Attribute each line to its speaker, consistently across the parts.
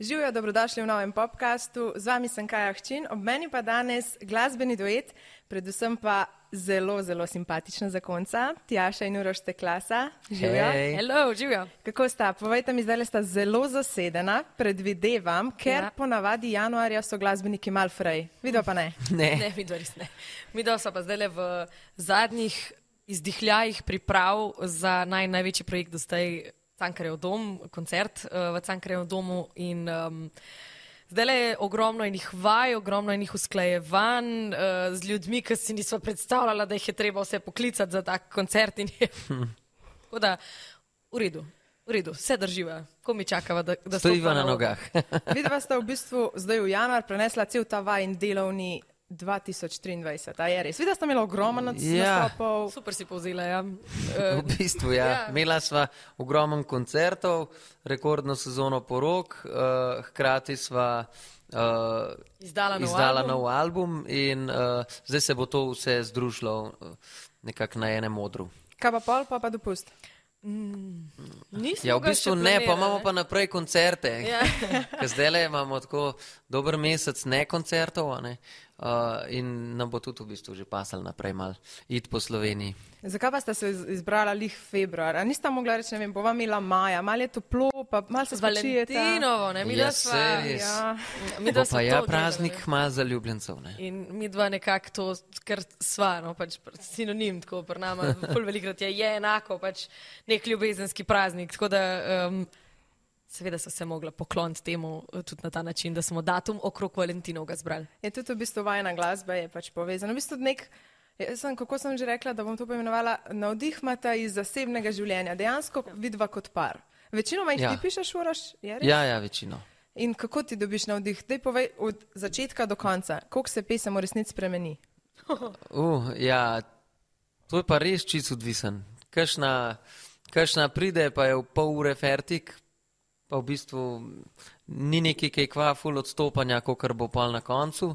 Speaker 1: Živijo, dobrodošli v novem podkastu. Z vami sem Kaja Hčin, ob meni pa danes glasbeni duet, predvsem pa zelo, zelo simpatična zakonca, Tjaša in Uroš Teklasa. Živijo.
Speaker 2: Hej.
Speaker 3: Hello, živijo.
Speaker 1: Kako sta? Povejte mi, zdaj sta zelo zasedena, predvidevam, ker ja.
Speaker 3: Ja.
Speaker 1: ponavadi januarja so glasbeniki mal fraj. Vidva pa ne.
Speaker 2: Ne.
Speaker 3: Ne, mi dva res ne. Mi dva smo pa zdaj v zadnjih izdihljajih priprav za naj, največji projekt do zdaj, Cankarjev dom, koncert uh, v Cankarjev domu. In, um, zdaj le je ogromno enih vaj, ogromno enih usklajevanj uh, z ljudmi, ki si nismo predstavljali, da jih je treba vse poklicati za tak koncert. in je-
Speaker 2: Hm.
Speaker 3: Tako da, v redu. V redu, vse drživa, ko mi čakava, da, da
Speaker 2: Stojiva
Speaker 3: stopa
Speaker 2: na
Speaker 3: oder.
Speaker 2: nogah.
Speaker 1: Vidva sta v bistvu zdaj v januar prenesla cel ta vajen delovni 2023, a je res. Vidva sta imela ogromno nac-
Speaker 2: Ja.
Speaker 1: nastopov.
Speaker 3: Super si povzela, ja.
Speaker 2: v
Speaker 3: Uh,
Speaker 2: bistvu, ja.
Speaker 3: Ja.
Speaker 2: Imela sva ogromen koncertov, rekordno sezono porok, uh, hkrati sva uh,
Speaker 3: Izdala nov
Speaker 2: izdala
Speaker 3: album.
Speaker 2: nov album in uh, zdaj se bo to vse združilo eh, nekako na enem odru.
Speaker 1: Kaj pa pol, pa pa dopust.
Speaker 3: Nismo
Speaker 2: Ja, v
Speaker 3: ga
Speaker 2: bistvu
Speaker 3: še
Speaker 2: ne, pa
Speaker 3: planirali.
Speaker 2: imamo pa naprej koncerte.
Speaker 3: Ja.
Speaker 2: Ker Zdaj le imamo tako dober mesec ne koncertov a ne? Uh, in nam bo tudi v bistvu že pasal naprej mal, id po Sloveniji.
Speaker 1: Zakaj pa ste se iz- izbrala lih februar? A niste mogla reči, ne vem, bova imela maja, malo je toplo, pa malo se spočijeta.
Speaker 3: Valentinovo, ne, mi dva
Speaker 2: Ja,
Speaker 3: sva.
Speaker 2: sej res.
Speaker 1: Ja.
Speaker 3: Mi
Speaker 2: Bo
Speaker 3: dva
Speaker 2: pa
Speaker 3: sva
Speaker 2: ja
Speaker 3: to
Speaker 2: praznik
Speaker 3: gledali.
Speaker 2: ima za ljubljencev. Ne?
Speaker 3: In mi dva nekako to, kar sva, no, pač pr- sinonim, tako pri nama, bolj velikrat je, je enako, pač nek ljubezenski praznik. Tako da, um, seveda so se mogla pokloniti temu eh, tudi na ta način, da smo datum okrog Valentinovega zbrali.
Speaker 1: Je tudi v bistvu vajna glasba, je pač povezana. V bistvu nek, jaz sem, kako sem že rekla, da bom to poimenovala, navdihmata iz zasebnega življenja. Dejansko vidva kot par. Večinoma jih
Speaker 2: Ja.
Speaker 1: ja. ti pišeš, uraš, je res?
Speaker 2: Ja, ja, večino.
Speaker 1: In kako ti dobiš navdih? Dej povej od začetka do konca, koliko se pesem v resnici spremeni.
Speaker 2: Uh, ja, to je pa res čist odvisen. Kašna, kašna pride, pa je v pol ure fertik, pa v bistvu ni neki kaj kva ful odstopanja, kot bo pol na koncu.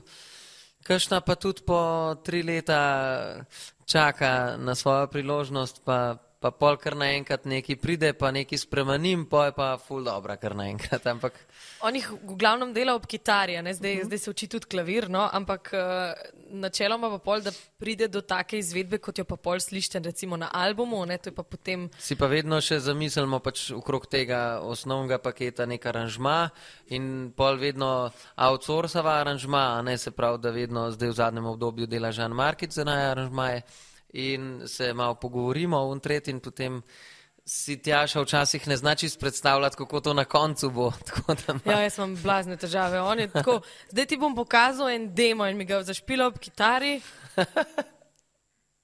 Speaker 2: Kašna pa tudi po tri leta čaka na svojo priložnost, pa, pa pol kar naenkrat neki pride, pa neki spremenim, pa je pa ful dobra kar naenkrat. Ampak
Speaker 3: On jih v glavnem dela ob kitari, a ne, zdaj, uh -huh. zdaj se uči tudi klavir, no? ampak uh, načeloma pa pol, da pride do take izvedbe, kot jo pa pol slišite recimo na albumu, ne? to je pa potem
Speaker 2: Si pa vedno še zamislimo pač okrog tega osnovnega paketa nek aranžma in pol vedno outsourcava aranžma, a ne se pravi, da vedno zdaj v zadnjem obdobju dela Žan Markic za naj aranžmaje in se malo pogovorimo o untret in potem si tjaša včasih ne znači predstavljati, kako to na koncu bo. Tako da ima-
Speaker 3: Ja, jaz imam blazne težave. On je Tako, zdaj ti bom pokazal en demo in mi ga zašpila ob kitari.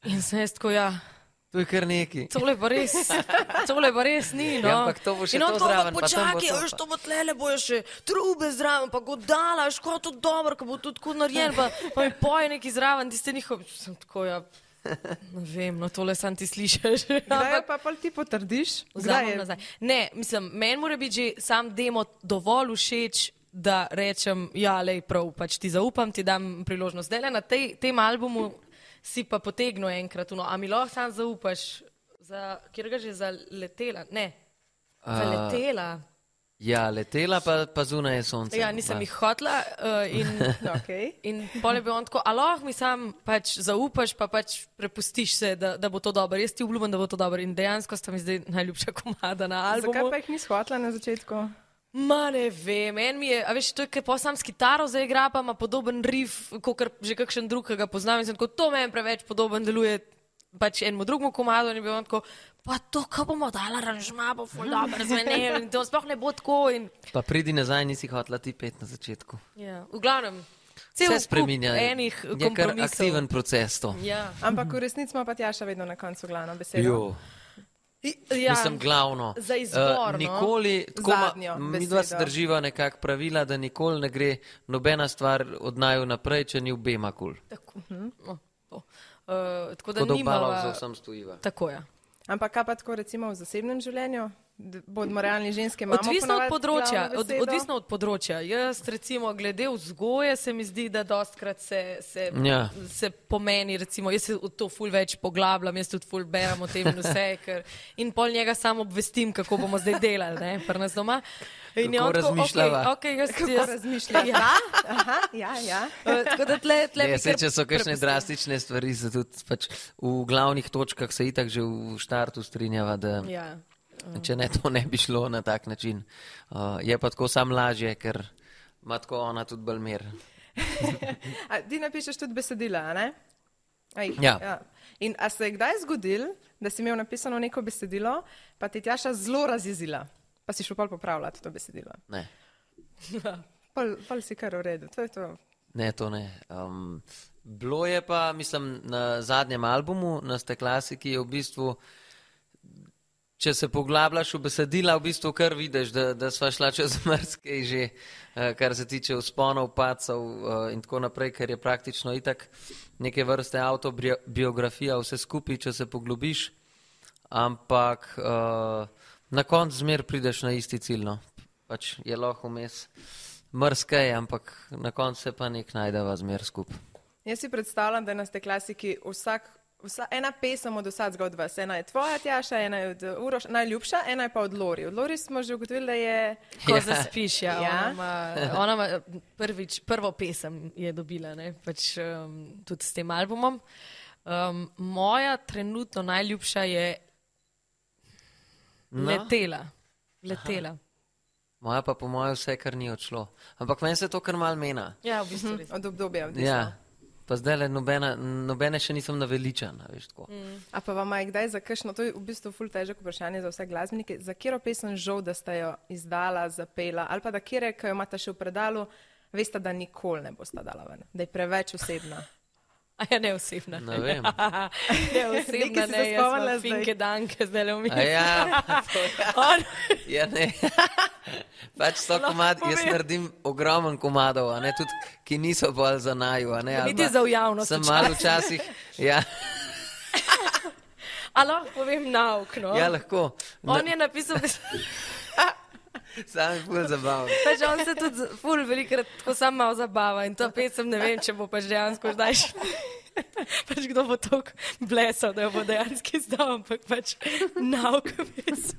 Speaker 3: In sem jaz tako, ja,
Speaker 2: To je kar neki.
Speaker 3: tole pa res, tole pa res ni. No.
Speaker 2: Ja, ampak to bo še
Speaker 3: in on
Speaker 2: to
Speaker 3: tako,
Speaker 2: zraven, pa tam bo
Speaker 3: počakaj,
Speaker 2: to pa."
Speaker 3: veš, to bo tlele, bojo še trube zraven, pa godala, veš, kako je to dobro, ko bo to tako narejen, pa, pa mi poje neki zraven, tiste njihov. Sem tako, ja, ne vem, no tole sam ti slišiš.
Speaker 1: Kdaj jo
Speaker 3: Ja, Ampak-
Speaker 1: pa pol ti potrdiš? Kdaj
Speaker 3: Vzamem nazaj. Ne, mislim, meni mora biti že sam demo dovolj všeč, da rečem, ja, lej prav, pač ti zaupam, ti dam priložnost. Zdaj le na tej, tem albumu si pa potegnil enkrat, no, a mi lahko sam zaupaš, za, kjer ga že zaletela, ne, zaletela.
Speaker 2: Ja, letela pa, pa zunaj je sonce.
Speaker 3: Ja, nisem
Speaker 2: Pa-
Speaker 3: jih hotla uh, in
Speaker 1: Okay.
Speaker 3: In pol je bil on tako, alo, mi sam pač zaupaš, pa pač prepustiš se, da, da bo to dobro. Jaz ti obljubim, da bo to dobro. In dejansko sta mi zdaj najljubša komada na albumu.
Speaker 1: Zakaj pa jih nisi hotla na začetku?
Speaker 3: Ma ne vem, en mi je, a veš, to je, ker posam s kitaro zaigra, pa ima podoben riff, kot že kakšen drug, ki ga poznam in sem tako, to meni preveč podoben deluje, pač enemu drugemu komadu in bi on tako, pa to, ko bomo dala aranžma, bo ful dobro zvenel in to sploh ne bo tako in,
Speaker 2: Pa pridi nazaj, nisi hotla ti pet na začetku.
Speaker 3: ja, v glavnem, cel
Speaker 2: Se
Speaker 3: kup
Speaker 2: spreminja.
Speaker 3: enih
Speaker 2: je kar
Speaker 3: kompromisov.
Speaker 2: aktiven proces to.
Speaker 3: Ja.
Speaker 1: Ampak v resnici ima pa Tjaša vedno na koncu glavno besedo.
Speaker 2: Mhm. Jo.
Speaker 3: I,
Speaker 2: Ja.
Speaker 3: ja.
Speaker 2: Mislim, glavno.
Speaker 3: Za izbor,
Speaker 2: Eh,
Speaker 3: no.
Speaker 2: nikoli, tako ma-
Speaker 1: Zadnjo
Speaker 2: mi dva se
Speaker 1: besedo.
Speaker 2: drživa nekako pravila, da nikoli ne gre nobena stvar od naju naprej, če ni obema kul.
Speaker 3: Tako, no, to. Uh, tako da
Speaker 2: Tako da obala
Speaker 3: nimava-
Speaker 2: za vsem stojiva.
Speaker 3: Tako je. Ja.
Speaker 1: Ampak kaj pa tako recimo v zasebnem življenju? D- Bodimo realni ženske, imamo
Speaker 3: Odvisno od
Speaker 1: ponavadi
Speaker 3: področja.
Speaker 1: glavno
Speaker 3: Od,
Speaker 1: besedo.
Speaker 3: odvisno od področja. Jaz, recimo, glede vzgoje, se mi zdi, da dostkrat se, se,
Speaker 2: Ja.
Speaker 3: se pomeni. Recimo, jaz se v to ful več poglabljam, jaz tudi ful berem o tem in vse. Ker, in pol njega samo obvestim, kako bomo zdaj delali, ne, pri nas doma. In je
Speaker 2: Kako
Speaker 3: on tako,
Speaker 2: razmišljava?
Speaker 3: "Okej, okej, jaz,
Speaker 1: Kako
Speaker 3: jaz,
Speaker 1: razmišljaš?
Speaker 3: Ja.
Speaker 1: Aha, ja, ja.
Speaker 3: Eh, Tako da tle, tle
Speaker 2: Ne,
Speaker 3: bi
Speaker 2: se,
Speaker 3: kar
Speaker 2: če so kakšne
Speaker 3: prepustil.
Speaker 2: drastične stvari, se tudi pač v glavnih točkah se itak že v štartu strinjava, da ja.
Speaker 3: Ja.
Speaker 2: če ne, to ne bi šlo na tak način. Uh, je pa tako sam lažje, ker ima tako ona tudi bolj mer.
Speaker 1: A, ti napišeš tudi besedila, a ne? A jih,
Speaker 2: Ja.
Speaker 1: In a se je kdaj zgodil, da si imel napisano neko besedilo, pa ti je Tjaša zelo razjezila, pa si šel pol popravljati to besedilo.
Speaker 2: Ne.
Speaker 1: Pol, pol si kar v redu, to je to.
Speaker 2: Ne, to ne. Um, bilo je pa, mislim, na zadnjem albumu, na Steklasiki, je v bistvu, če se poglabljaš v besedila, v bistvu kar vidiš, da, da sva šla čez mrzkej že, eh, kar se tiče usponov, pacov eh, in tako naprej, ker je praktično itak neke vrste avtobiografija, vse skupaj, če se poglobiš, ampak eh, na koncu zmer prideš na isti ciljno. Pač je lahko vmes mrzkej, ampak na koncu se pa nek najdeva zmer skupaj.
Speaker 1: Jaz si predstavljam, da nas te klasiki vsak. Vsa, ena pesem od vsakega od vas, ena je tvoja, Tjaša, ena je od eh, Uroša, najljubša, ena je pa od Lori. Od Lori smo že ugotovili, da je
Speaker 3: Ko
Speaker 2: Ja.
Speaker 3: ja. zaspiš, ja,
Speaker 1: Ja.
Speaker 3: ja. Ona, ima, ona ima prvič, prvo pesem je dobila, ne, pač, um, tudi s tem albumom. Um, moja trenutno najljubša je
Speaker 2: No.
Speaker 3: letela. letela.
Speaker 2: Moja pa po mojem vse, kar ni odšlo. Ampak meni se to kar mal mena.
Speaker 3: Ja, v bistvu res.
Speaker 1: od obdobja. odvisno.
Speaker 2: Ja. Pa zdaj le nobena, nobene še nisem naveličan. a Veš, tako.
Speaker 3: Mm.
Speaker 1: A pa vam je kdaj za kakšno, to je v bistvu ful težek vprašanje za vse glasbenike, za katero pesem žal, da ste jo izdala, zapela, ali pa da kjer, ki jo imate še v predalu, veste, da nikoli ne boste dala ven, da je preveč osebna.
Speaker 3: A ja, ne osebna.
Speaker 2: Ne vem.
Speaker 3: Ja. ne osebna,
Speaker 1: Nekaj si se
Speaker 3: ne jaz imam
Speaker 1: spomnila zdaj.
Speaker 3: finke danke, zdaj le
Speaker 2: A
Speaker 3: umim.
Speaker 2: Ja, ja, ne. Pač so komadi, jaz
Speaker 3: povem.
Speaker 2: naredim ogromen komadov, a ne, tudi, ki niso bolj za naju. a Ne, ali
Speaker 3: Niti
Speaker 2: pa
Speaker 3: za v javnost
Speaker 2: Sem malo včasih. Ja,
Speaker 3: Alo, povem nauk. No?
Speaker 2: ja lahko.
Speaker 3: On je napisal, da se
Speaker 2: Sam je bolj zabaven.
Speaker 3: Pač on se tudi z- ful velikrat tako sam malo zabava in to pesem ne vem, če bo pač dejansko zdaj šlo. Pač kdo bo tako blesal, da jo bo dejansko izdal, ampak pač nauka pesem.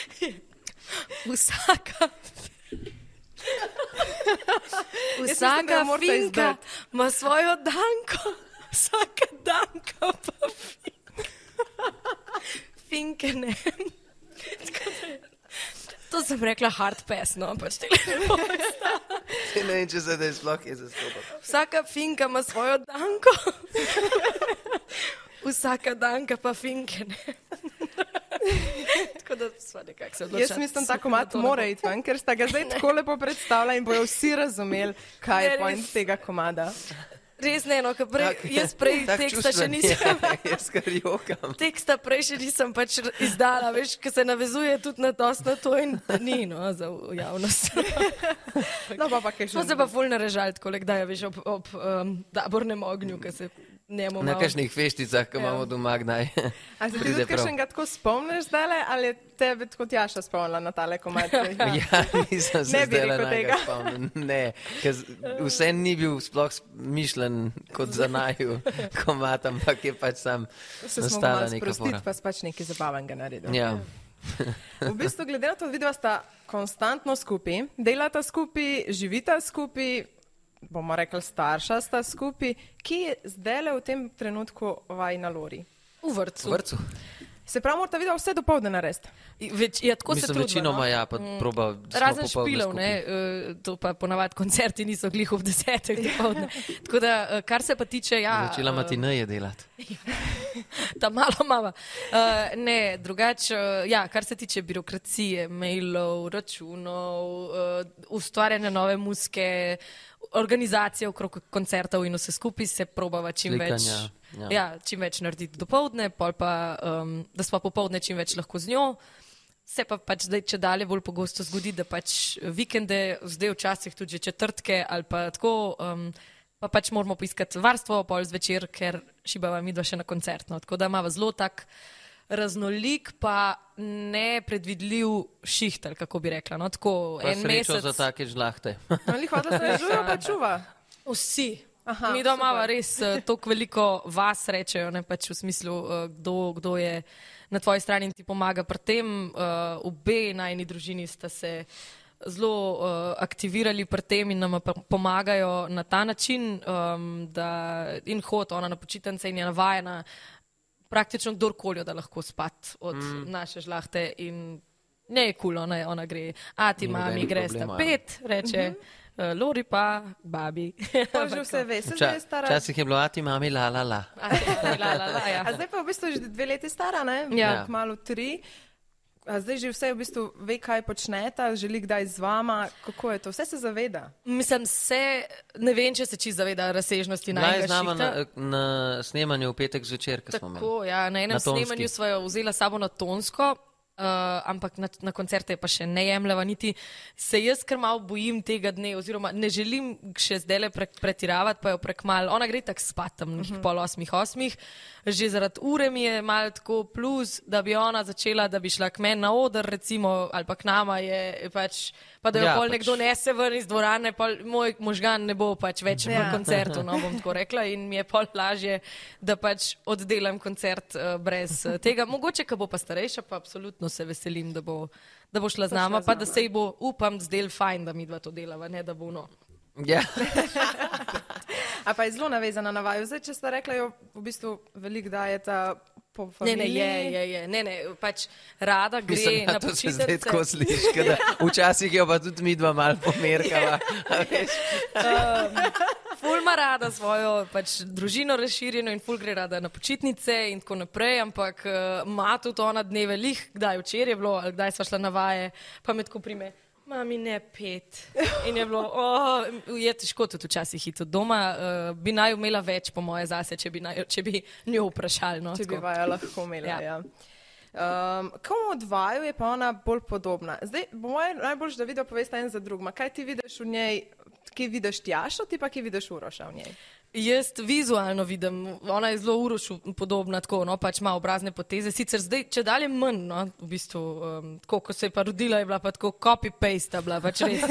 Speaker 3: Vsaka.
Speaker 1: mislim, da jo
Speaker 3: Vsaka
Speaker 1: morate
Speaker 3: finka
Speaker 1: izdati.
Speaker 3: ima svojo danko, vsaka danka pa finka. Finke ne. Tako da- To sem rekla hard pass, no pač te
Speaker 2: Ne vem, če se da je sploh je zastopal.
Speaker 3: Vsaka finka ima svojo danko. Vsaka danka pa finke ne. Tako da sva nekako se odločila.
Speaker 1: Jaz mislim,
Speaker 3: super,
Speaker 1: tako mat
Speaker 3: to ne bo.
Speaker 1: mora iti ven, ker sta ga zdaj tako lepo predstavila in bojo vsi razumeli, kaj je
Speaker 3: Ne, res.
Speaker 1: point tega komada.
Speaker 3: Res ne, no, ker prej,
Speaker 2: Tak-
Speaker 3: jaz prej
Speaker 2: tak
Speaker 3: teksta še
Speaker 2: čustven,
Speaker 3: nisem.
Speaker 2: Ja, jaz kar jokam.
Speaker 3: Teksta prej še nisem pač r- izdala, veš, ker se navezuje tudi na dost na to in ni, no, za v- javnost.
Speaker 1: No, pa pa kaj še.
Speaker 3: Smo se pa ful narežali, tako le kdaj, veš, ob, ob um, dabornem ognju, ker se njemu
Speaker 2: Na
Speaker 3: malo...
Speaker 2: kakšnih fešticah, ki
Speaker 3: No. Ja.
Speaker 2: imamo doma, kdaj.
Speaker 1: A se ti
Speaker 2: pride
Speaker 1: tudi
Speaker 2: prav.
Speaker 1: kakšnega tako spomniš zdaj, ali je tebe tako Tjaša spomnila na tale komad?
Speaker 2: Ja, nisem se
Speaker 1: Ne bi
Speaker 2: zdaj
Speaker 1: rekel
Speaker 2: tega
Speaker 1: tega.
Speaker 2: spomnil. Ne, ker z- vse ni bil sploh s- mišljen kot za naju komat, ampak je pač sam
Speaker 1: Se smo ga
Speaker 2: nastala
Speaker 1: malo
Speaker 2: neka
Speaker 1: sprostiti,
Speaker 2: fora.
Speaker 1: pa si pač nekaj zabavenega naredil.
Speaker 2: Ja.
Speaker 1: V bistvu, glede na to, vidva sta konstantno skupaj, delata skupaj, živita skupaj, bomo rekli, starša sta skupaj. Kje je zdaj le v tem trenutku vajna Lori?
Speaker 3: V
Speaker 2: V
Speaker 3: vrtu.
Speaker 2: vrtu.
Speaker 1: Se pravi, morata vidva vse dopoldne narediti.
Speaker 3: Več, ja, tako se
Speaker 2: Mislim,
Speaker 3: trudimo,
Speaker 2: večinoma
Speaker 3: no?
Speaker 2: ja, pa proba. da smo
Speaker 3: Razen
Speaker 2: popoldne
Speaker 3: špilov,
Speaker 2: skupaj.
Speaker 3: ne, eh, to pa ponavadi koncerti niso glih ob desetih. dopoldne. Tako da, eh, kar se pa tiče, ja,
Speaker 2: Začela
Speaker 3: eh,
Speaker 2: matine je delati.
Speaker 3: ta mala mama. Eh, Ne, drugače, eh, ja, kar se tiče birokracije, mailov, računov, eh, ustvarjanja nove muske, organizacije okrog koncertov in vse skupaj se probava čim
Speaker 2: Slikanja,
Speaker 3: več.
Speaker 2: ja.
Speaker 3: Ja, čim več narediti dopoledne, pol pa, um, da smo popoldne čim več lahko z njo. Se pa pač zdaj, če dalje bolj pogosto zgodi, da pač vikende, zdaj včasih tudi že četrtke ali pa tako, um, pa pač moramo poiskati varstvo pol zvečer, ker šibava midva še na koncertno. Tako da imamo zelo tak raznolik, pa nepredvidljiv šiht, ali kako bi rekla. No, tako,
Speaker 2: Pa
Speaker 3: en
Speaker 2: srečo
Speaker 3: mesec.
Speaker 2: za take žlahte.
Speaker 1: Ali hočeš, da se
Speaker 3: ja.
Speaker 1: žujo, pa čuva.
Speaker 3: Vsi.
Speaker 1: Aha,
Speaker 3: Aha, Mi doma imamo
Speaker 1: super.
Speaker 3: res eh, toliko veliko vas rečejo, ne pač v smislu, eh, kdo, kdo je na tvoji strani in ti pomaga. Pri tem eh, obe najni družini sta se zelo eh, aktivirali pri tem in nam pa pomagajo na ta način, em, da in hod, ona na počitnice in je navajena praktično kdorkoli, da lahko spat od mm. naše žlahte in ne je kul, cool, ona, ona gre, a ti
Speaker 2: Ni
Speaker 3: mami
Speaker 2: nobenih
Speaker 3: greš na
Speaker 2: problemov,
Speaker 3: pet, reče, mm -hmm. Lori pa, babi.
Speaker 1: To že vse veš, zdaj je
Speaker 2: Vča-
Speaker 1: stara.
Speaker 2: Včasih je bilo ati mami la la la.
Speaker 3: A, la, la, la, ja.
Speaker 1: A zdaj pa je v bistvu že dve leti stara, ne?
Speaker 3: Ja.
Speaker 1: Malo tri. A zdaj že vse v bistvu ve, kaj počnete, želi kdaj z vama, kako je to. Vse se zaveda.
Speaker 3: Mislim, se, ne vem, če se čisto zaveda razsežnosti
Speaker 2: Bila je
Speaker 3: najbolj
Speaker 2: z nama na, na snemanju v petek zvečer, ko smo imeli.
Speaker 3: Tako, ja, na enem
Speaker 2: Na
Speaker 3: na
Speaker 2: tonski.
Speaker 3: snemanju sva jo vzela s sabo na tonsko, uh, ampak na, na koncerte je pa še ne jemljeva, niti se jaz kar malo bojim tega dne, oziroma ne želim še zdaj le pre, pretiravati, pa jo prekmal. Ona gre tako spat tam nekih pol osmih, osmih, že zaradi ure mi je malo tako plus, da bi ona začela, da bi šla k meni na oder, recimo, ali pa k nama je pač, pa da jo
Speaker 2: Ja,
Speaker 3: ja, pol
Speaker 2: pač.
Speaker 3: pač. nekdo nese ven iz dvorane, pol moj možgan ne bo pač več
Speaker 1: Ja.
Speaker 3: ja. na koncertu, no bom tako rekla, in mi je pol lažje, da pač oddelam koncert eh, brez eh, tega. Mogoče, ko bo pa starejša, pa absolutno se veselim, da bo, da bo šla z
Speaker 1: Bo šla
Speaker 3: nama,
Speaker 1: z
Speaker 3: pa da
Speaker 1: nama.
Speaker 3: se ji bo, upam, zdel fajn, da mi dva to delava, ne da bo no.
Speaker 2: Ja.
Speaker 1: A pa je zelo navezana na vaju. Zdaj, če ste rekli, jo v bistvu veliko dajeta po
Speaker 3: Ne,
Speaker 1: familiji.
Speaker 3: ne, je, je, je. ne, ne, pač rada gre
Speaker 2: Mislim,
Speaker 3: na
Speaker 2: da to se zdaj
Speaker 3: počitnice.
Speaker 2: tako sliši. ke da Včasih jo pa tudi mi dva malo pomerkava. a veš.
Speaker 3: Ful ima rada svojo pač, družino razširjeno in ful gre rada na počitnice in tako naprej, ampak eh, ima tudi ona dneve lih, kdaj včeraj je bilo ali kdaj sva šla na vaje, pa me tako prime. Mami, ne pet. In je bilo, oh, je težko tudi včasih iti od doma. Uh, bi naj imela več, po moje, zase, če bi, naj, če bi njo vprašali. No,
Speaker 1: Če bi
Speaker 3: tako.
Speaker 1: vaju lahko imela. Ja.
Speaker 3: Ja.
Speaker 1: Ja. Um, komu od vaju je pa ona bolj podobna? Zdaj, bo moje najboljš, da vidijo povesta en za drugima. Kaj ti vidiš v njej, ki vidiš Tjašo, ti pa ki vidiš Uroša v njej?
Speaker 3: Jaz vizualno vidim, ona je zelo urošu podobna, tako, no, pač ima obrazne poteze. Sicer zdaj, če dalje manj, no, v bistvu, um, tako, ko se je pa rodila, je bila pa tako copy-paste, bila pač res.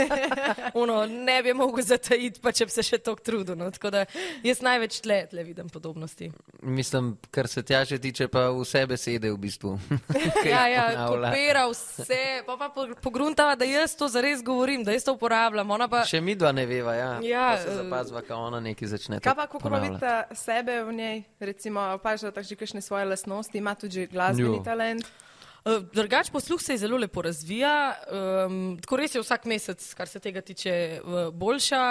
Speaker 3: ono, ne bi mogel zatajiti, pa če bi se še tako trudil. No, tako da jaz največ tle, tle vidim podobnosti.
Speaker 2: Mislim, kar se tja že tiče, pa vse besede v bistvu. Ke
Speaker 3: Ja,
Speaker 2: jih
Speaker 3: ja,
Speaker 2: ponavlja.
Speaker 3: kopira vse, pa pa po- pogruntava, da jaz to zares govorim, da jaz to uporabljam. Ona pa,
Speaker 2: Še mi dva ne veva, ja.
Speaker 3: Ja,
Speaker 2: Pa se
Speaker 3: eh,
Speaker 2: zapazva, ko ona nekaj začne.
Speaker 1: Kaj
Speaker 2: tako
Speaker 1: pa, kako pa
Speaker 2: ponavljati.
Speaker 1: vidite sebe v njej? Recimo, pač, da tako že kakšne svoje lasnosti, ima tudi že glasbeni
Speaker 2: Jo.
Speaker 1: talent.
Speaker 3: Eh, Drugač posluh se je zelo lepo razvija, um, tako res je vsak mesec, kar se tega tiče, eh, boljša.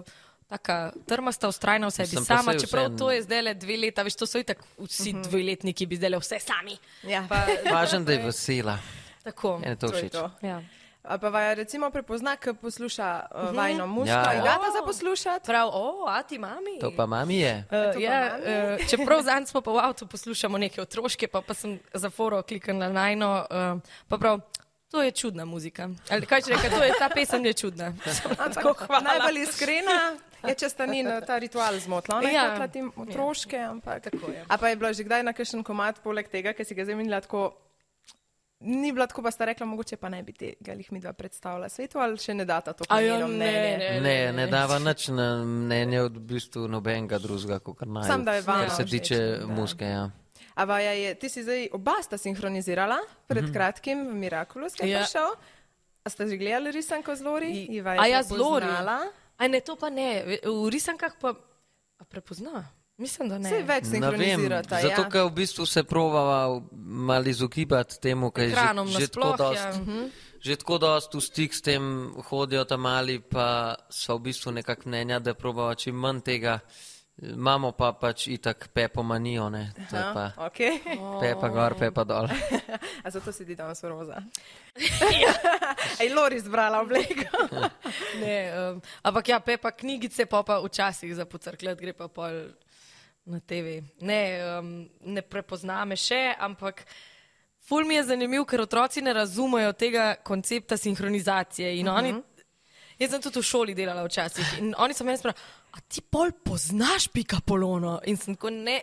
Speaker 3: Uh, Taka trmasta, ustrajna v sebi
Speaker 2: Mislim,
Speaker 3: Mislim,
Speaker 2: pa
Speaker 3: sama,
Speaker 2: saj
Speaker 3: čeprav
Speaker 2: vseeno-
Speaker 3: to je zdaj le dve leta, veš, to so itak vsi
Speaker 1: Mhm.
Speaker 3: uh -huh. dveletniki, bi zdaj le vse sami.
Speaker 1: Ja,
Speaker 3: Pa,
Speaker 2: Važno, da je vesela.
Speaker 3: tako.
Speaker 2: Mene to
Speaker 1: to je
Speaker 2: všeč.
Speaker 1: to.
Speaker 3: Ja.
Speaker 1: A pa vaju recimo prepozna, ko posluša uh, vajno muziko, ja,
Speaker 2: Ja, ja.
Speaker 1: ja. data za poslušati.
Speaker 3: Prav, o, a ti mami.
Speaker 2: To pa mami je.
Speaker 3: Eh,
Speaker 1: to pa
Speaker 3: ja,
Speaker 1: mami.
Speaker 3: eh, čeprav zadnji smo pa v avtu poslušali neke otroške, pa, pa sem za foro kliknil na najno, eh, pa prav, to je čudna muzika. Ali kaj če rečem, to je ta pesem je čudna.
Speaker 1: Ampak najbolj iskrena je, če sta ni na ta ritual zmotila. Ona
Speaker 3: Ja.
Speaker 1: je hotela tim otroške, ampak
Speaker 3: Tako je.
Speaker 1: A pa je bilo že kdaj na kakšen komat poleg tega, ki si ga zamenila tako. Ni bila tako, pa sta rekla, mogoče pa ne bi tega jih midva predstavila svetu, ali še ne data to
Speaker 3: A ja,
Speaker 1: pomembno mnenje.
Speaker 2: Ne, ne dava nič na mnenje od v bistvu nobenega drugega, kot naj.
Speaker 1: Samo da je vama
Speaker 2: Kar se
Speaker 1: všeč,
Speaker 2: tiče
Speaker 1: da.
Speaker 2: muske, ja.
Speaker 1: A vaja je, ti si zdaj oba sta sinhronizirala, pred mm -hmm. kratkim v Miraculous, ki je
Speaker 3: Mhm. Ja.
Speaker 1: ja. prišel. A ste že gledali risanko z Lori?
Speaker 3: I-
Speaker 1: Iva je
Speaker 3: A ja,
Speaker 1: to
Speaker 3: z Lori?
Speaker 1: poznala.
Speaker 3: A ne, to pa ne. V- V risankah pa a prepozna. Mislim, da ne.
Speaker 1: Saj več
Speaker 2: Ne vem,
Speaker 1: sinhronizirata.
Speaker 2: zato
Speaker 1: ja.
Speaker 2: ker v bistvu se provava malo izogibati temu, kaj je že,
Speaker 3: Ekranom
Speaker 2: že
Speaker 3: nasploh,
Speaker 2: tako
Speaker 3: ja,
Speaker 2: dost,
Speaker 3: mhm.
Speaker 2: že tako dost v stik s tem hodijo tam mali, pa so v bistvu nekak mnenja, da provava čim manj tega. Imamo pa pač itak pepomanijo, ne?
Speaker 1: No,
Speaker 2: To je pa
Speaker 1: Aha, okay.
Speaker 2: pepa gor, pepa dol.
Speaker 1: A zato sedi danes v roza.
Speaker 3: Ja.
Speaker 1: Ej, Lori zbrala obleko.
Speaker 3: ne um, ampak ja, pepa knjigice, pa pa včasih za pocrkljati gre pa pol na TV. Ne, um, ne prepozname še, ampak. Ful mi je zanimiv, ker otroci ne razumejo tega koncepta sinhronizacije. In oni,
Speaker 1: Mhm.
Speaker 3: jaz sem tudi v šoli delala včasih in oni so meni sprašili, a ti pol poznaš pika polono? In sem tako ne.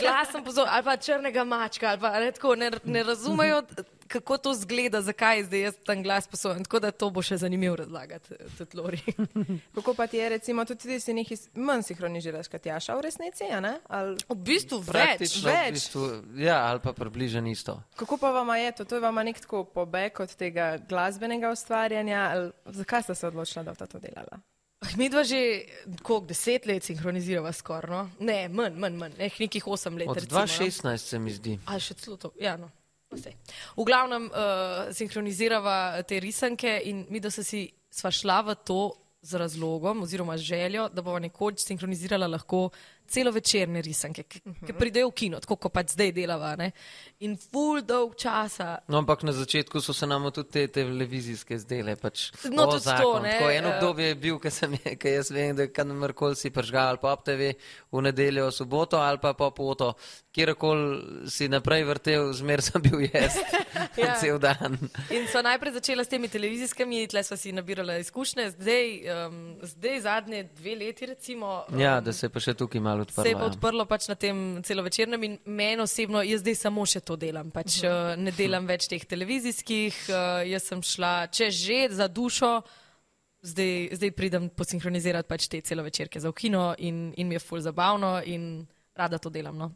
Speaker 3: glasen pozor, ali pa črnega mačka, ali pa ne, tako, ne, ne razumejo, kako to zgleda, zakaj zdaj jaz tam glas posojam. Tako da to bo še zanimivo razlagati, eh, tudi Lori.
Speaker 1: Kako pa ti je, recimo, tudi ti si nekaj manj sinhroniziraš kot Jaša v resnici, a ne? Ali,
Speaker 3: V bistvu več.
Speaker 2: Praktično,
Speaker 1: več.
Speaker 2: v bistvu, ja, ali pa približno isto.
Speaker 1: kako pa vama je to? To je vama nek tako pobeg od tega glasbenega ustvarjanja, ali zakaj ste se odločila, da boste to delala?
Speaker 3: Ah, Midva že koliko deset let sinhronizirava skoraj, no? Ne, manj, manj, manj, eh, nekih osem let.
Speaker 2: Od
Speaker 3: recimo, no.
Speaker 2: 2016 se mi zdi.
Speaker 3: Ali še celo to? Ja, no. pa saj. V glavnem uh, sinhronizirava te risanke in mi, da se si sva šla v to z razlogom oziroma željo, da bomo nekoč sinhronizirala lahko celo večerne risanke, ki, uh -huh. ki pridejo v kino, tako kot pač zdaj delava. Ne? In full dolg časa
Speaker 2: No, ampak na začetku so se nam tudi te televizijske zdele. Pač,
Speaker 3: No,
Speaker 2: o,
Speaker 3: tudi to,
Speaker 2: zakon.
Speaker 3: ne,
Speaker 2: Tako, eno
Speaker 3: eh.
Speaker 2: obdobje je bil, ki sem je- ki jaz vem, da kamorkoli si pržgal po TV v nedeljo, soboto ali pa po poto, kjerkoli si naprej vrtel, zmer sem bil jaz
Speaker 3: Ja.
Speaker 2: cel dan.
Speaker 3: In so najprej začela s temi televizijskimi, tle smo si nabirala izkušnje, zdaj, um, zdaj zadnje dve leti, recimo. em,
Speaker 2: Ja, da se je pa še tukaj malo odprlo.
Speaker 3: Se je pa
Speaker 2: ja.
Speaker 3: odprlo pač na tem celovečernem in meni osebno, jaz zdaj samo še to delam. Pač, uh, ne delam več teh televizijskih, uh, jaz sem šla, če že za dušo, zdaj, zdaj pridem posinhronizirati pač te celovečerke za okino in, in mi je ful zabavno in rada to delam. No.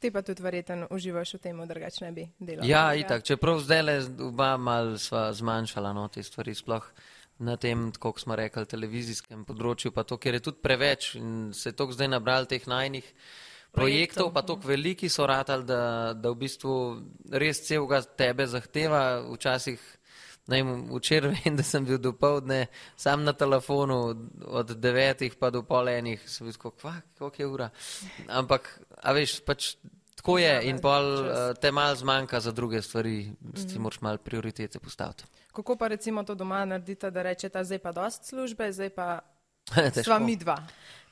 Speaker 1: Ti pa tudi verjetno uživaš v tem, drugače ne bi delala.
Speaker 2: Ja, itak, čeprav zdaj le oba malo sva zmanjšala no, te stvari, sploh na tem, kako smo rekli, televizijskem področju, pa to, ker je tudi preveč in se je toliko zdaj nabral teh najnih projektov, no. pa toliko veliki so ratali, da, da v bistvu res celega tebe zahteva, včasih Ne, vem, včeraj vem, da sem bil do povdne sam na telefonu, od devetih pa do pol enih, sem bil tako, kva, koliko je ura. Ampak, a veš, pač tako je in pol eh, te mal zmanjka za druge stvari, si
Speaker 3: Mhm.
Speaker 2: moraš mal prioritete postaviti.
Speaker 1: Ja. Kako pa recimo to doma naredite, da rečete, zdaj pa dost službe, zdaj pa
Speaker 2: Težko.
Speaker 1: sva mi dva.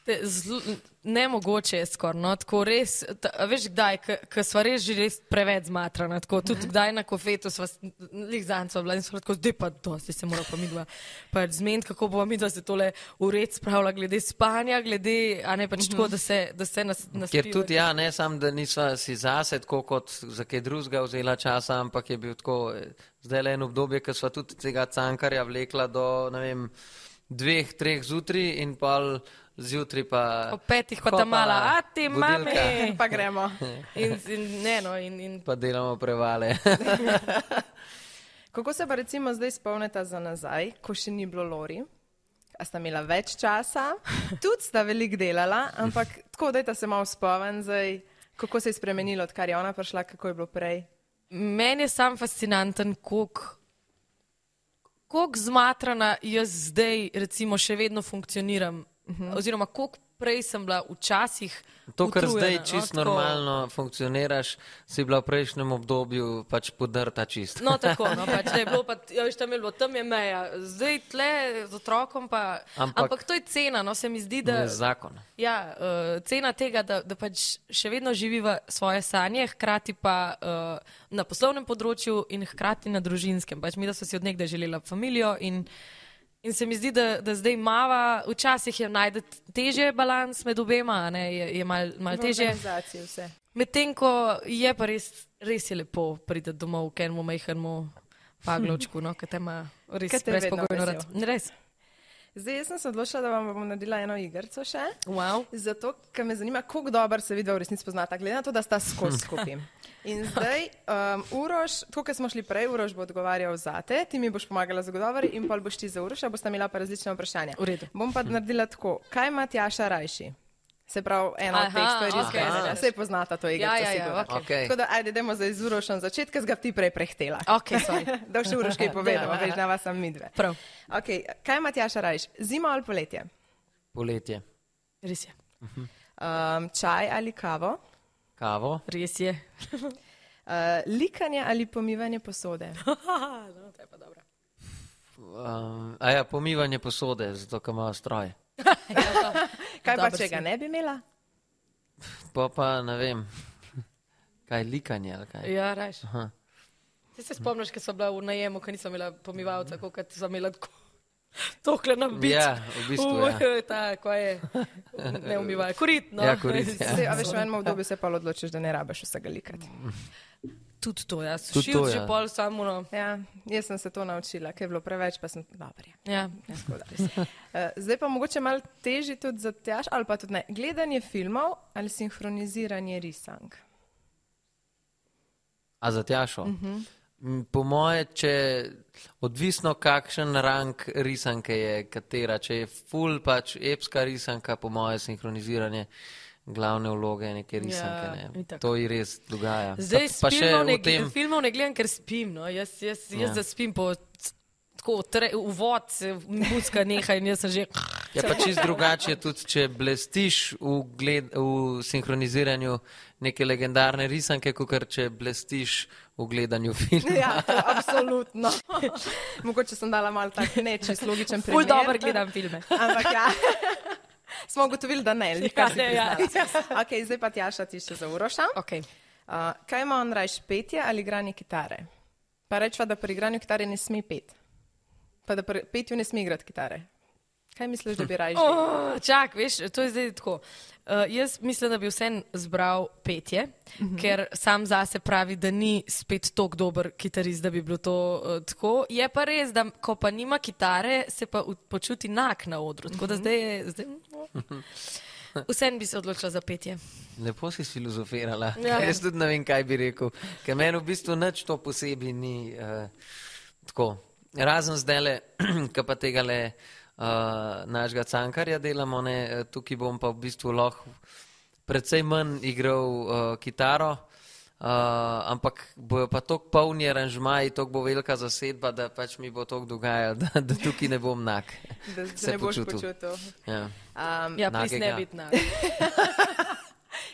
Speaker 3: Te, zlu, ne mogoče je skoraj, no, tako res, ta, a veš kdaj, ker smo res že res preveč zmatrani, tako tudi kdaj na kofetu sva, lih zanco bila in sva tako, zdaj pa to, zdaj se mora pa midva, pa zmen, kako bo midva se tole ured spravila glede spanja, glede, a ne pač tako, da se, da se nas, nas
Speaker 2: Ker tudi ja, ne samo, da nisva si zase tako kot za kaj drugega vzela časa, ampak je bil tako, eh, zdaj le eno obdobje, ki sva tudi tega cankarja vlekla do, ne vem, dveh, treh zjutraj in pol zjutraj pa.
Speaker 3: Ob petih pa
Speaker 2: hopala
Speaker 3: ta mala, a ti
Speaker 2: budilka,
Speaker 3: mami. Ej.
Speaker 1: Pa gremo.
Speaker 2: Ja.
Speaker 3: In, in, ne, no, in, in
Speaker 2: Pa delamo prevale.
Speaker 1: Kako se pa recimo zdaj spomnite za nazaj, ko še ni bilo Lori? A sta imela več časa, tudi sta veliko delala, ampak tako da se malo spomnim zdaj, kako se je spremenilo, odkar je ona prišla, kako je bilo prej.
Speaker 3: Meni je sam fascinanten, koliko kolik zmatrana jaz zdaj, recimo, še vedno funkcioniram. Uh -huh. Oziroma, koliko prej sem bila včasih.
Speaker 2: To, kar
Speaker 3: utrujena,
Speaker 2: zdaj
Speaker 3: no,
Speaker 2: čist
Speaker 3: tako.
Speaker 2: normalno funkcioniraš, si bila v prejšnjem obdobju pač podrta čist.
Speaker 3: No, tako, no, pač, da je bilo, pa, ja, veš, tam, je bilo, tam je meja, zdaj tle z otrokom. Pa, ampak,
Speaker 2: Ampak-
Speaker 3: ampak to je cena, no, se mi zdi, da.
Speaker 2: Ne, Zakon.
Speaker 3: Ja, uh, cena tega, da, da pač še vedno živiva svoje sanje, hkrati pa uh, na poslovnem področju in hkrati na družinskem. Pač mi, da so si odnegdaj želela družino in, in se mi zdi, da, da zdaj mava, včasih je najdete teže balans med obema, a ne, je, je mal,
Speaker 1: No,
Speaker 3: mal teže.
Speaker 1: Organizacije vse.
Speaker 3: Medtem ko je pa res, res je lepo priti domov k enemu majhnemu paglovčku, no, ki te ima res
Speaker 1: Ke te vedno
Speaker 3: brezpogojno
Speaker 1: vesel.
Speaker 3: rad. Res.
Speaker 1: Zdaj jaz sem se odločila, da vam bom naredila eno igrico še.
Speaker 3: Wow.
Speaker 1: Zato, ker me zanima, kako dobro se vidva v resnici poznata, glede na to, da sta skozi skupaj. In zdaj, um, Uroš, tako kot smo šli prej, Uroš bo odgovarjal za te, ti mi boš pomagala z odgovori in pol boš ti za Uroša, bosta imela pa različna vprašanja.
Speaker 3: V redu.
Speaker 1: Bom pa naredila tako, kaj ima Tjaša rajši? Se pravi, ena od
Speaker 3: Aha,
Speaker 1: teh stvari,
Speaker 3: okej,
Speaker 1: ki
Speaker 3: okej.
Speaker 1: okay, se poznata, to je igra.
Speaker 3: Ja, ja, ja, okej.
Speaker 2: Okej.
Speaker 1: Tako da, ajde, idemo zdaj z Urošem začeti, ker si ga ti prej prehtela.
Speaker 3: Okay, sorry.
Speaker 1: da boš Uroš kaj povedal, veš, da vas sem midve.
Speaker 3: Prav.
Speaker 1: Okay, kaj ima Tjaša rajši? Zima ali poletje?
Speaker 2: Poletje.
Speaker 3: Res je.
Speaker 1: Um, čaj ali kavo?
Speaker 2: Kavo.
Speaker 3: Res je.
Speaker 1: Uh, likanje ali pomivanje posode.
Speaker 3: no, to je pa dobro.
Speaker 2: Um, a ja, pomivanje posode, zato ker ima stroj.
Speaker 1: Kaj pa,
Speaker 3: Dobro
Speaker 1: če
Speaker 3: si.
Speaker 1: ga ne bi imela?
Speaker 2: Pa pa ne vem, kaj likanje ali kaj.
Speaker 3: Ja, rajš.
Speaker 2: Aha.
Speaker 3: Ti se spomniš, ko sem bila v najemu, ko nisem imela pomivalca, kot sem imela tako. Tokle nam biti.
Speaker 2: Mm. Ja, v bistvu, ja.
Speaker 3: Ta, ko je, ne umivaj, korit. No.
Speaker 2: Ja, korit, ja.
Speaker 1: Se, a veš, v enem obdobju se pa odločiš, da ne rabiš vsega likati.
Speaker 3: Mm. Tudi to, ja.
Speaker 2: Tudi
Speaker 3: Šil
Speaker 2: to,
Speaker 3: že
Speaker 2: ja.
Speaker 3: pol samo. No.
Speaker 1: Ja, jaz sem se to naučila, ker je bilo preveč, pa sem dobro. ja.
Speaker 3: Ja.
Speaker 1: Ja, tako da. Eh, Zdaj pa mogoče malo težje tudi za tež, ali pa tudi ne. Gledanje filmov ali sinhroniziranje risank.
Speaker 2: A za tjašo?
Speaker 3: Mhm.
Speaker 2: M, Po moje, če odvisno kakšen rang risanke je katera, če je full pač epska risanka, po moje sinhroniziranje glavne vloge neke risanke. ne.
Speaker 3: Ja, itak.
Speaker 2: To ji res dogaja.
Speaker 3: Zdaj
Speaker 2: pa, pa še
Speaker 3: filmov ne,
Speaker 2: v tem.
Speaker 3: filmov ne gledam, ker spim. No. Jaz, jaz, jaz
Speaker 2: Ja.
Speaker 3: ja. zaspim po c- tako, tre, uvod, se muzika neha in jaz sem že.
Speaker 2: Je Ja, pa čist drugače, tudi če blestiš v, gled, v sinhroniziranju neke legendarne risanke, kot če blestiš v gledanju filma.
Speaker 1: Ja, to, absolutno. Mogoče sem dala malo tak nečist logičen primer.
Speaker 3: Ful dobro gledam filme.
Speaker 1: Ampak ja. Smo ugotovili, da ne, ali kaj se
Speaker 3: Ja, ja.
Speaker 1: ja. okay, zdaj pa tjaša ti še za uroša.
Speaker 3: Okay.
Speaker 1: Uh, kaj ima on rajš petje ali igranje kitare? Pa rečva, da pri igranju kitare ne sme pet. Pa da pri petju ne sme igrati kitare. Kaj misliš, da bi rajš? Oh.
Speaker 3: Oh, čak, veš, to je zdaj tako. Uh, jaz mislim, da bi vsem zbral petje, mm -hmm. ker sam zase pravi, da ni spet tako dober kitarist, da bi bilo to uh, tako. Je pa res, da ko pa nima kitare, se pa v- počuti nak na odru. Tako da zdaj je. Zdaj, Vsem bi se odločila za petje.
Speaker 2: Lepo si filozofirala.
Speaker 3: Ja.
Speaker 2: Ja. Jaz tudi ne vem, kaj bi rekel. Ker meni v bistvu nič to posebej ni uh, tako. Razen zdaj le, ki pa tega le uh, našega cankarja delamo, ne, eh, tukaj bom pa v bistvu lahko precej manj igral uh, kitaro. Uh, ampak bojo pa tako polni aranžmaji, tako bo velika zasedba, da pač mi bo tako dogajalo, da, da tukaj ne bom nak.
Speaker 1: Da se,
Speaker 2: se
Speaker 1: se ne boš
Speaker 2: počutil.
Speaker 1: počutil. počutil.
Speaker 2: Ja.
Speaker 1: Um,
Speaker 3: Ja, plis ne
Speaker 2: Nagega.
Speaker 3: biti na.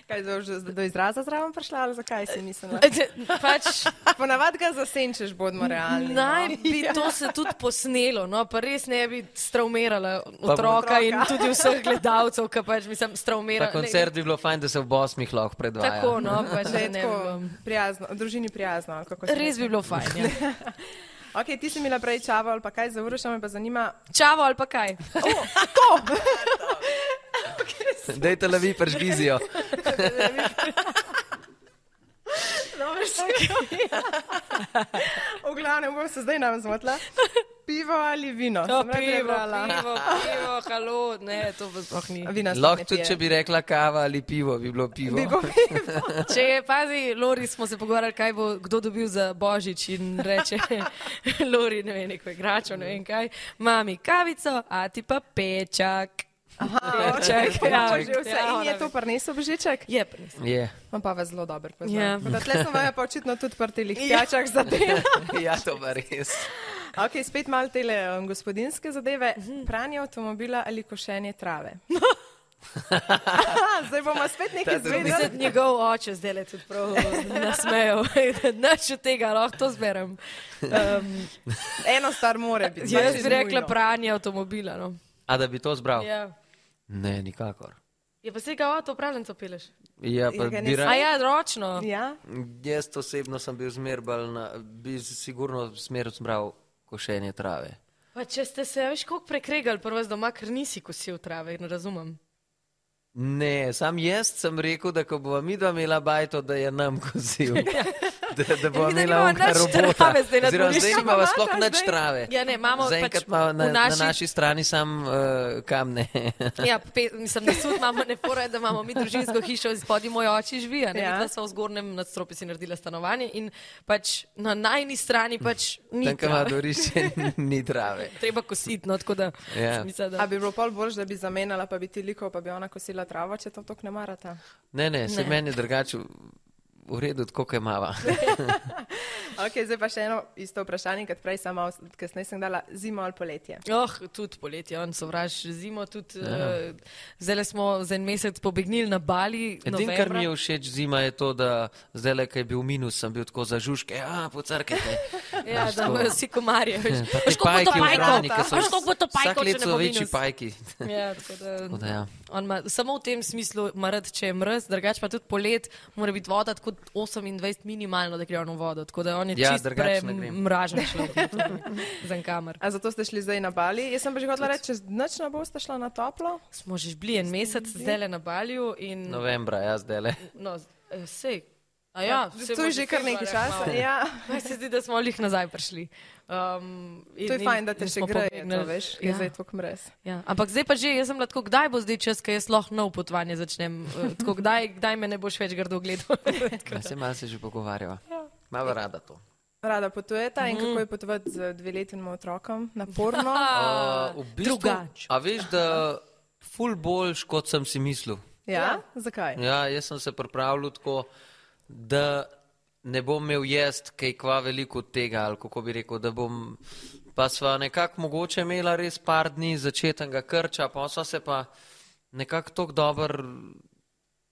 Speaker 1: kaj je že do izraza zraven prišla ali zakaj si mislila?
Speaker 3: Pač
Speaker 1: Ponavadi ga zasenčeš, bodimo realni.
Speaker 3: Naj
Speaker 1: no.
Speaker 3: bi to se tudi posnelo, no, pa res ne bi straumirala
Speaker 2: bo-
Speaker 3: otroka in tudi vseh gledalcev, ki pač
Speaker 1: Ja,
Speaker 3: mislim,
Speaker 2: Ta
Speaker 3: straumirala.
Speaker 2: koncert bi bilo fajn, da se v Bosmih lahko
Speaker 3: Ne,
Speaker 2: predvaja.
Speaker 3: tako, no, pač
Speaker 1: Da je
Speaker 3: ne.
Speaker 1: tako
Speaker 3: Bilo.
Speaker 1: prijazno, družini prijazno. ali kako se
Speaker 3: Res
Speaker 1: reče.
Speaker 3: bi bilo fajn. Ja.
Speaker 1: Ok, ti si imela prej čavo ali pa kaj za uroša, me pa zanima.
Speaker 3: Čavo ali pa kaj?
Speaker 2: Dajte le vi prežvizijo.
Speaker 1: v glavnem bom se zdaj nam zmotila. Pivo ali vino?
Speaker 3: O,
Speaker 1: Sem najprej
Speaker 3: pivo,
Speaker 1: brala.
Speaker 3: pivo, pivo, halo, ne, to pa sploh ni.
Speaker 1: Vina sploh ne
Speaker 2: Lahko tudi,
Speaker 1: pijem.
Speaker 2: če bi rekla kava ali pivo, bi bilo pivo.
Speaker 1: Bi bo pivo.
Speaker 3: Če je, pazi, Lori smo se pogovarjali, kaj bo kdo dobil za božič in reče, Lori, ne vem, neko igračo, ne vem kaj, mami kavico, a ti pa pečak.
Speaker 1: Aha,
Speaker 3: Peček,
Speaker 1: okej,
Speaker 3: ja.
Speaker 1: to že vse.
Speaker 3: Ja,
Speaker 1: In je
Speaker 3: ona
Speaker 1: to prinesel Božiček?
Speaker 3: Je pa nisem.
Speaker 2: Je.
Speaker 1: On pa vas zelo dobro pozna.
Speaker 3: Ja.
Speaker 1: Yeah. Tle smo vaju pa očitno tudi prtili pijačah za te.
Speaker 2: Ja, to pa res.
Speaker 1: Ok, spet malo tele um, gospodinske zadeve.
Speaker 3: Mhm.
Speaker 1: Pranje avtomobila ali košenje trave. Zdaj bomo spet nekaj
Speaker 2: Ta tudi
Speaker 1: izvedeli.
Speaker 3: Mislim, njegov oče zdaj le tudi prav nasmejal. Naš od tega lahko to zberem. Um,
Speaker 1: Eno star more biti.
Speaker 3: jaz
Speaker 1: pač
Speaker 3: bi rekla
Speaker 1: nujno.
Speaker 3: pranje avtomobila. No.
Speaker 2: A da bi to zbral?
Speaker 3: Ja.
Speaker 2: Ne, nikakor.
Speaker 3: Je pa se ga avto pravljenco peleš.
Speaker 2: Ja, pa
Speaker 1: Ja, ga
Speaker 2: bi
Speaker 1: ne-
Speaker 2: ra...
Speaker 3: A ja, ročno.
Speaker 1: Ja,
Speaker 2: Jaz osebno sem bil zmer bolj, na... bi sigurno smer zbral košenje trave.
Speaker 3: Pa če ste se ja, veš koliko prekregali prvo z doma, ker nisi kosil trave, ne razumem.
Speaker 2: Ne, sam jaz sem rekel, da ko bova mi dva imela bajto, da je nam kozil. Da, da bova
Speaker 3: Mi da
Speaker 2: imela
Speaker 3: nimava
Speaker 2: unka
Speaker 3: Ja, nič
Speaker 2: robota.
Speaker 3: trave zdaj na
Speaker 2: Oziroma,
Speaker 3: dvorišču.
Speaker 2: zdaj imava sploh
Speaker 1: Imata
Speaker 2: nič
Speaker 1: zdaj-
Speaker 2: trave.
Speaker 3: Ja, ne, imamo
Speaker 2: Zaenkrat
Speaker 3: pač
Speaker 2: ima na,
Speaker 3: v
Speaker 2: naši...
Speaker 3: naši-
Speaker 2: na naši strani sam uh, kamne.
Speaker 3: Ja, pe, mislim, da sud imamo ne pore, da imamo mi družinsko hišo, spodaj moj oči živi. Ja.
Speaker 1: Ja.
Speaker 3: Midva sva v zgornjem nadstropju si naredila stanovanje in pač na najni strani pač ni.
Speaker 2: Tam, kjer ima
Speaker 3: trave.
Speaker 2: dvorišče, ni trave.
Speaker 3: Treba kositi, no, tako da.
Speaker 2: Ja.
Speaker 3: Mislim, da...
Speaker 1: a bi bilo pol bolj, da bi zamenjala, pa bi ti likov, pa bi ona kosila travo, če to tok ne marata.
Speaker 2: Ne, ne, se
Speaker 3: Ne.
Speaker 2: meni je drugače v- v redu, tako kot imava.
Speaker 1: Ok, zdaj pa še eno isto vprašanje, kot prej sama, kasneje sem dala zimo ali poletje.
Speaker 3: Oh, tudi poletje, on sovraž zimo. Tudi, ja. uh, zdaj smo za en mesec pobegnili na Bali.
Speaker 2: Edino, kar mi je všeč zima, je to, da zdaj, le, ko je bil minus, sem bil tako za žužke, a pocrkajte.
Speaker 3: Ja,
Speaker 2: "Ja, Veš,
Speaker 3: da
Speaker 2: to-
Speaker 3: bojo vsi komarje. veš.
Speaker 2: Ja, pa te
Speaker 3: Veš, koliko bo to
Speaker 2: pajki v hrani, ki
Speaker 3: pajkov?
Speaker 2: so
Speaker 3: Veš, koliko bo to
Speaker 2: Vsak
Speaker 3: pajkov,
Speaker 2: let
Speaker 3: če ne
Speaker 2: so
Speaker 3: bo
Speaker 2: večji
Speaker 3: minus?
Speaker 2: pajki.
Speaker 3: Ja, tako da,
Speaker 2: Tako da ja.
Speaker 3: On ima samo v tem smislu, ima rad, če je mrz, drugače pa tudi polet, mora biti voda tako 28 minimalno, da gre on v vodo. Tako da on je
Speaker 2: Ja,
Speaker 3: čist
Speaker 2: drugače ne grem.
Speaker 3: premražen človek. Za kamer.
Speaker 1: A zato ste šli zdaj na Bali? Jaz sem pa že hotela reči, čez noč ne boste šla na toplo.
Speaker 3: Smo že bili en mesec, zdaj le na Balju in
Speaker 2: Novembra, ja, zdaj le.
Speaker 3: no, vse. Ja, saj
Speaker 1: to
Speaker 3: bo
Speaker 1: je že kar nekaj
Speaker 3: februarja
Speaker 1: časa.
Speaker 3: kmalu.
Speaker 1: Ja.
Speaker 3: Meni se zdi, da smo jih nazaj prišli. Um, in-
Speaker 1: To je
Speaker 3: in-
Speaker 1: fajn, da te
Speaker 3: in
Speaker 1: še
Speaker 3: smo
Speaker 1: greje,
Speaker 3: pobegnili.
Speaker 1: to, veš, je
Speaker 3: Ja,
Speaker 1: zdaj tako mrez.
Speaker 3: ja. Ampak zdaj pa že, jaz sem bila tako, kdaj bo zdaj čas, ker jaz lahko nov potovanje začnem. Eh, Tako, kdaj, kdaj me ne boš več grdo gledal.
Speaker 2: Ja, se malo se že pogovarjava.
Speaker 3: Ja.
Speaker 2: Mava rada to.
Speaker 1: Rada potujeta
Speaker 3: Mhm.
Speaker 1: in kako je potovati z dveletnim otrokom, naporno.
Speaker 2: A, v bistvu,
Speaker 3: drugače.
Speaker 2: A veš, da ful boljš, kot sem si mislil.
Speaker 1: Ja, zakaj?
Speaker 2: Ja, jaz sem se pripravljal tako, da ne bom imel jaz kaj kva veliko od tega, ali kako bi rekel, da bom. Pa sva nekako mogoče imela res par dni začetnega krča, pa sva se pa nekako tako dobro,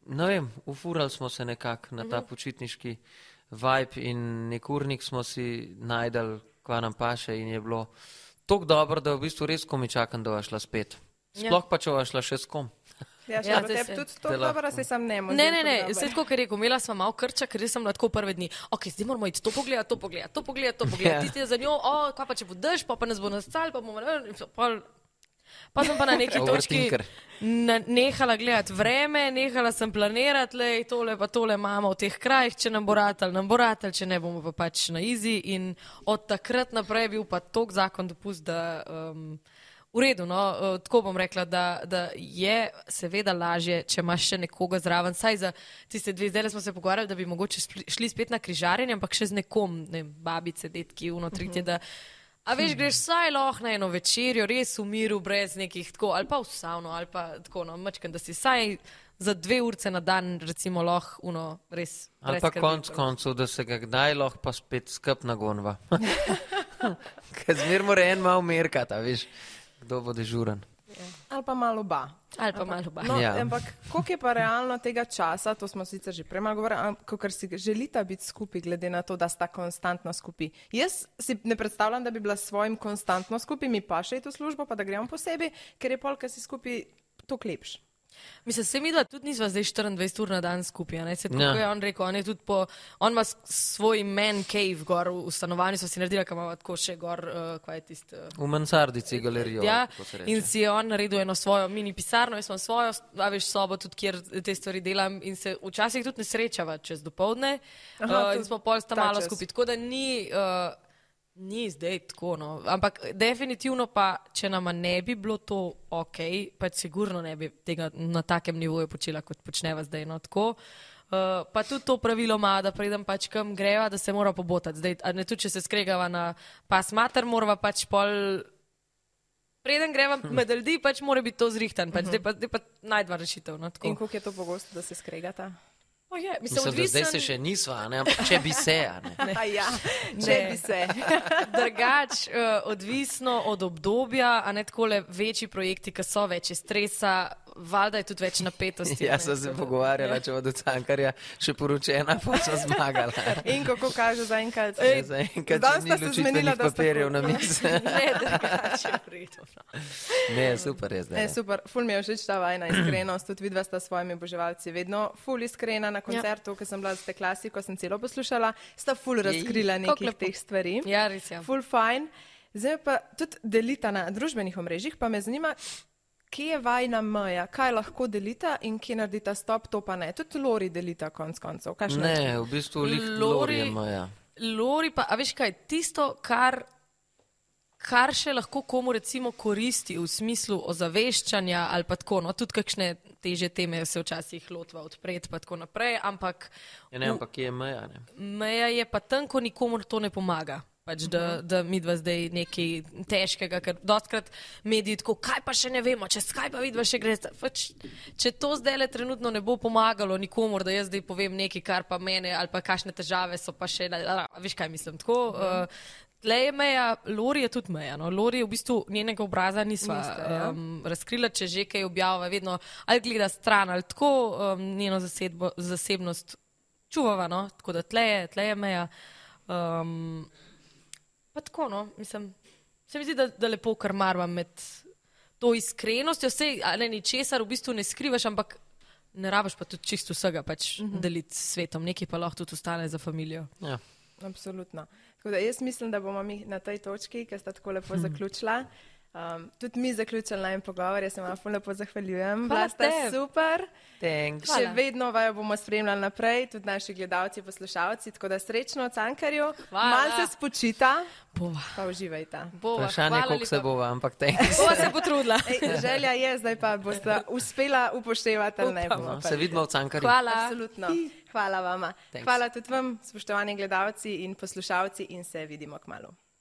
Speaker 2: ne vem, ufurali smo se nekako na ta počitniški vibe in nek urnik smo si najdel, kva nam paše in je bilo tako dobro, da v bistvu res komi čakam, da boš šla spet.
Speaker 3: Ja.
Speaker 2: Sploh pa če boš šla še s kom.
Speaker 1: Ja, še
Speaker 3: Ja,
Speaker 1: ja,
Speaker 3: zdaj
Speaker 1: tebi
Speaker 3: se-
Speaker 1: tudi to
Speaker 2: Te lahko.
Speaker 1: dobro, saj sam ne morem.
Speaker 3: Ne, ne, ne, vse tako, ker je rekel, imela sem malo krča, ker sem lahko prve dni. Ok, zdaj moramo iti to pogledati, to pogledati, to pogledati, to
Speaker 2: Ja.
Speaker 3: pogledati. Ti je za njo, o, kaj pa če bo dež, pa pa nas bo nastal, pa bomo. eh, pol- Pa sem pa na neki točki
Speaker 2: Overthinker.
Speaker 3: na, nehala gledati vreme, nehala sem planirati, lej, tole pa tole imamo v teh krajih, če nam bo ratal, nam bo ratal, če ne bomo pa pač na izi. In od takrat naprej je bil pa tok zakon dopust, da um, v redu, no, eh, tako bom rekla, da, da je seveda lažje, če imaš še nekoga zraven. Saj za tiste dve, zdaj smo se pogovarjali, da bi mogoče spli- šli spet na križarjenje, ampak še z nekom, ne vem, babice, detki, unotrite, da. A veš, greš vsaj lahko na eno večerjo, res v miru, brez nekih tako, ali pa v savno, ali pa tako, no, mečken, da si vsaj za dve urce na dan, recimo, lahko, uno, res. brez
Speaker 2: Ali pa
Speaker 3: skrbi.
Speaker 2: konc koncev, da se ga kdaj lahko pa spet skup nagonva. Ker zmer mora en malo merkati, a veš, kdo bo dežuren.
Speaker 1: Ali pa malo ba.
Speaker 3: Ali pa malo
Speaker 1: No,
Speaker 3: bolj.
Speaker 2: Ja.
Speaker 1: ja. Ampak koliko je pa realno tega časa, to smo sicer že prej malo govorili, ker si želita biti skupaj, glede na to, da sta konstantno skupaj. Jaz si ne predstavljam, da bi bila s svojim konstantno skupaj, mi pa še je to službo, pa da gremo posebej, ker je pol, ker si skupaj to klepš.
Speaker 3: Mislim, se mi da tudi nisva zdaj 24 ur na dan skupaj. a ne. Saj Tako
Speaker 2: Ja.
Speaker 3: ja. je on rekel, on, je tudi po, on ima s- svoj man cave gor v, v stanovanju, so si naredila, kam ima tako še gor, uh, kaj je tisto. Uh,
Speaker 2: V mansardici galerijo.
Speaker 3: Ja,
Speaker 2: kako se reče.
Speaker 3: in si je on naredil eno svojo mini pisarno, jaz imam svojo, a veš, sobo tudi, kjer te stvari delam in se včasih tudi ne srečava čez dopoledne.
Speaker 1: Aha,
Speaker 3: Uh, in
Speaker 1: tudi
Speaker 3: smo pol sta
Speaker 1: ta
Speaker 3: malo
Speaker 1: čas.
Speaker 3: skupaj. Tako da ni, uh, ni zdaj tako. No. Ampak definitivno pa, če nama ne bi bilo to ok, pa sigurno ne bi tega na takem nivoju počela, kot počneva zdaj. No, tako. Uh, pa tudi to pravilo ima, da preden pač kam greva, da se mora pobotati. Zdaj, a ne tudi, če se skregava na pas mater, morava pač pol preden greva med ljudi, pač mora biti to zrihtan, pač zdaj pa, zdaj pa najdva rešitev. No,
Speaker 1: In
Speaker 3: tako.
Speaker 1: koliko je to pogosto, da se skregata?
Speaker 3: O, je, mislim,
Speaker 2: Mislim, da zdaj se še nisva, a ne? ampak če bi se. a ne.
Speaker 1: A ja,
Speaker 3: Ne.
Speaker 1: če bi se.
Speaker 3: Drugač, uh, odvisno od obdobja, a ne tako le večji projekti, ki so več je stresa, valjda je tudi več napetosti. a ne,
Speaker 2: Jaz sem Ja, se
Speaker 3: tako da-
Speaker 2: pogovarjala, če bo do Cankarja še poročena, pa sem zmagala.
Speaker 1: In kako kaže zaenkrat?
Speaker 2: Ej, Ja, Zaenkrat
Speaker 1: danes
Speaker 2: še ni
Speaker 1: sta se zmenila, da
Speaker 2: ločitvenih
Speaker 1: sta
Speaker 2: papirjev
Speaker 1: kot-
Speaker 2: na mizi.
Speaker 3: Ne, drugače je v redu. no.
Speaker 2: Ne, super je
Speaker 1: E,
Speaker 2: zdaj. ja.
Speaker 1: super, ful mi je všeč ta vajna iskrenost, tudi vidva sta s svojimi oboževalci vedno ful iskrena na koncertu, ja. ko sem bila z te klasiko, sem celo poslušala, sta ful razkrila
Speaker 3: kako
Speaker 1: nekih
Speaker 3: lepo.
Speaker 1: teh stvari.
Speaker 3: Ja, res je.
Speaker 1: Ful fajn. Zdaj pa tudi delita na družbenih omrežjih, pa me zanima, kje je vajna meja, kaj lahko delita in kje naredita stop, to pa ne. Tudi Lori delita konc koncev. Kakšno je
Speaker 2: Ne, v bistvu lih
Speaker 3: Lori-
Speaker 2: Lori ima. Ja.
Speaker 3: Lori pa, a veš kaj, tisto, kar, kar še lahko komu recimo koristi v smislu ozaveščanja ali pa tako, no tudi kakšne teže teme se včasih lotva odpred pa tako naprej, ampak
Speaker 2: Ja, ne, ampak kje je meja? Ne?
Speaker 3: meja je pa tam, ko nikomor to ne pomaga. Pač, da, da mi dva zdaj nekaj težkega, ker dotkrat mediji tako, kaj pa še ne vemo, čez kaj pa vidva še gre. Pač, če to zdaj le trenutno ne bo pomagalo nikomor, da jaz zdaj povem nekaj, kar pa mene ali pa kakšne težave so pa še, la- la- la, veš kaj mislim. Tako, uh, tle je meja, Lori je tudi meja. No. Lori je v bistvu njenega obraza nisva
Speaker 1: Niste, ja.
Speaker 3: um, razkrila, če že kaj objavlja, vedno ali gleda stran ali tako um, njeno zasedbo, zasebnost čuvava, no? tako da tle je, tle je meja. Um, Pa tako, no, mislim. Se mi zdi, da, da lepo krmarvam med to iskrenostjo, vse ne ničesar v bistvu ne skrivaš, ampak ne rabiš pa tudi čisto vsega pač
Speaker 2: Mhm.
Speaker 3: mm -hmm. deliti s svetom, nekaj pa lahko tudi ostane za familijo.
Speaker 2: Ja.
Speaker 1: Absolutno. Tako da jaz mislim, da bomo mi na tej točki, ki sta tako
Speaker 3: Hm.
Speaker 1: lepo zaključila, um, tudi mi zaključili najmen pogovor. Jaz se vam ful lepo zahvaljujem. Bila
Speaker 3: Hvala
Speaker 1: sta
Speaker 3: tebi.
Speaker 1: super.
Speaker 2: Thanks.
Speaker 1: Še
Speaker 3: Hvala.
Speaker 1: vedno vaju bomo spremljali naprej, tudi naši gledalci, poslušalci. Tako da srečno Cankarju,
Speaker 3: Hvala.
Speaker 1: malo se spočita,
Speaker 3: Bova.
Speaker 1: pa uživajte.
Speaker 3: Bova.
Speaker 2: Vprašanje,
Speaker 3: Hvala
Speaker 2: koliko se
Speaker 3: lepa.
Speaker 2: bova, ampak thanks.
Speaker 3: Bova se potrudila.
Speaker 1: Ej, želja je, zdaj pa boste uspela upoštevati ali ne. bomo
Speaker 2: No,
Speaker 1: pa
Speaker 2: se vidimo v Cankarju.
Speaker 3: Hvala.
Speaker 1: Absolutno. Hvala vama.
Speaker 2: Thanks.
Speaker 1: Hvala tudi vam, spoštovani gledalci in poslušalci, in se vidimo k malu.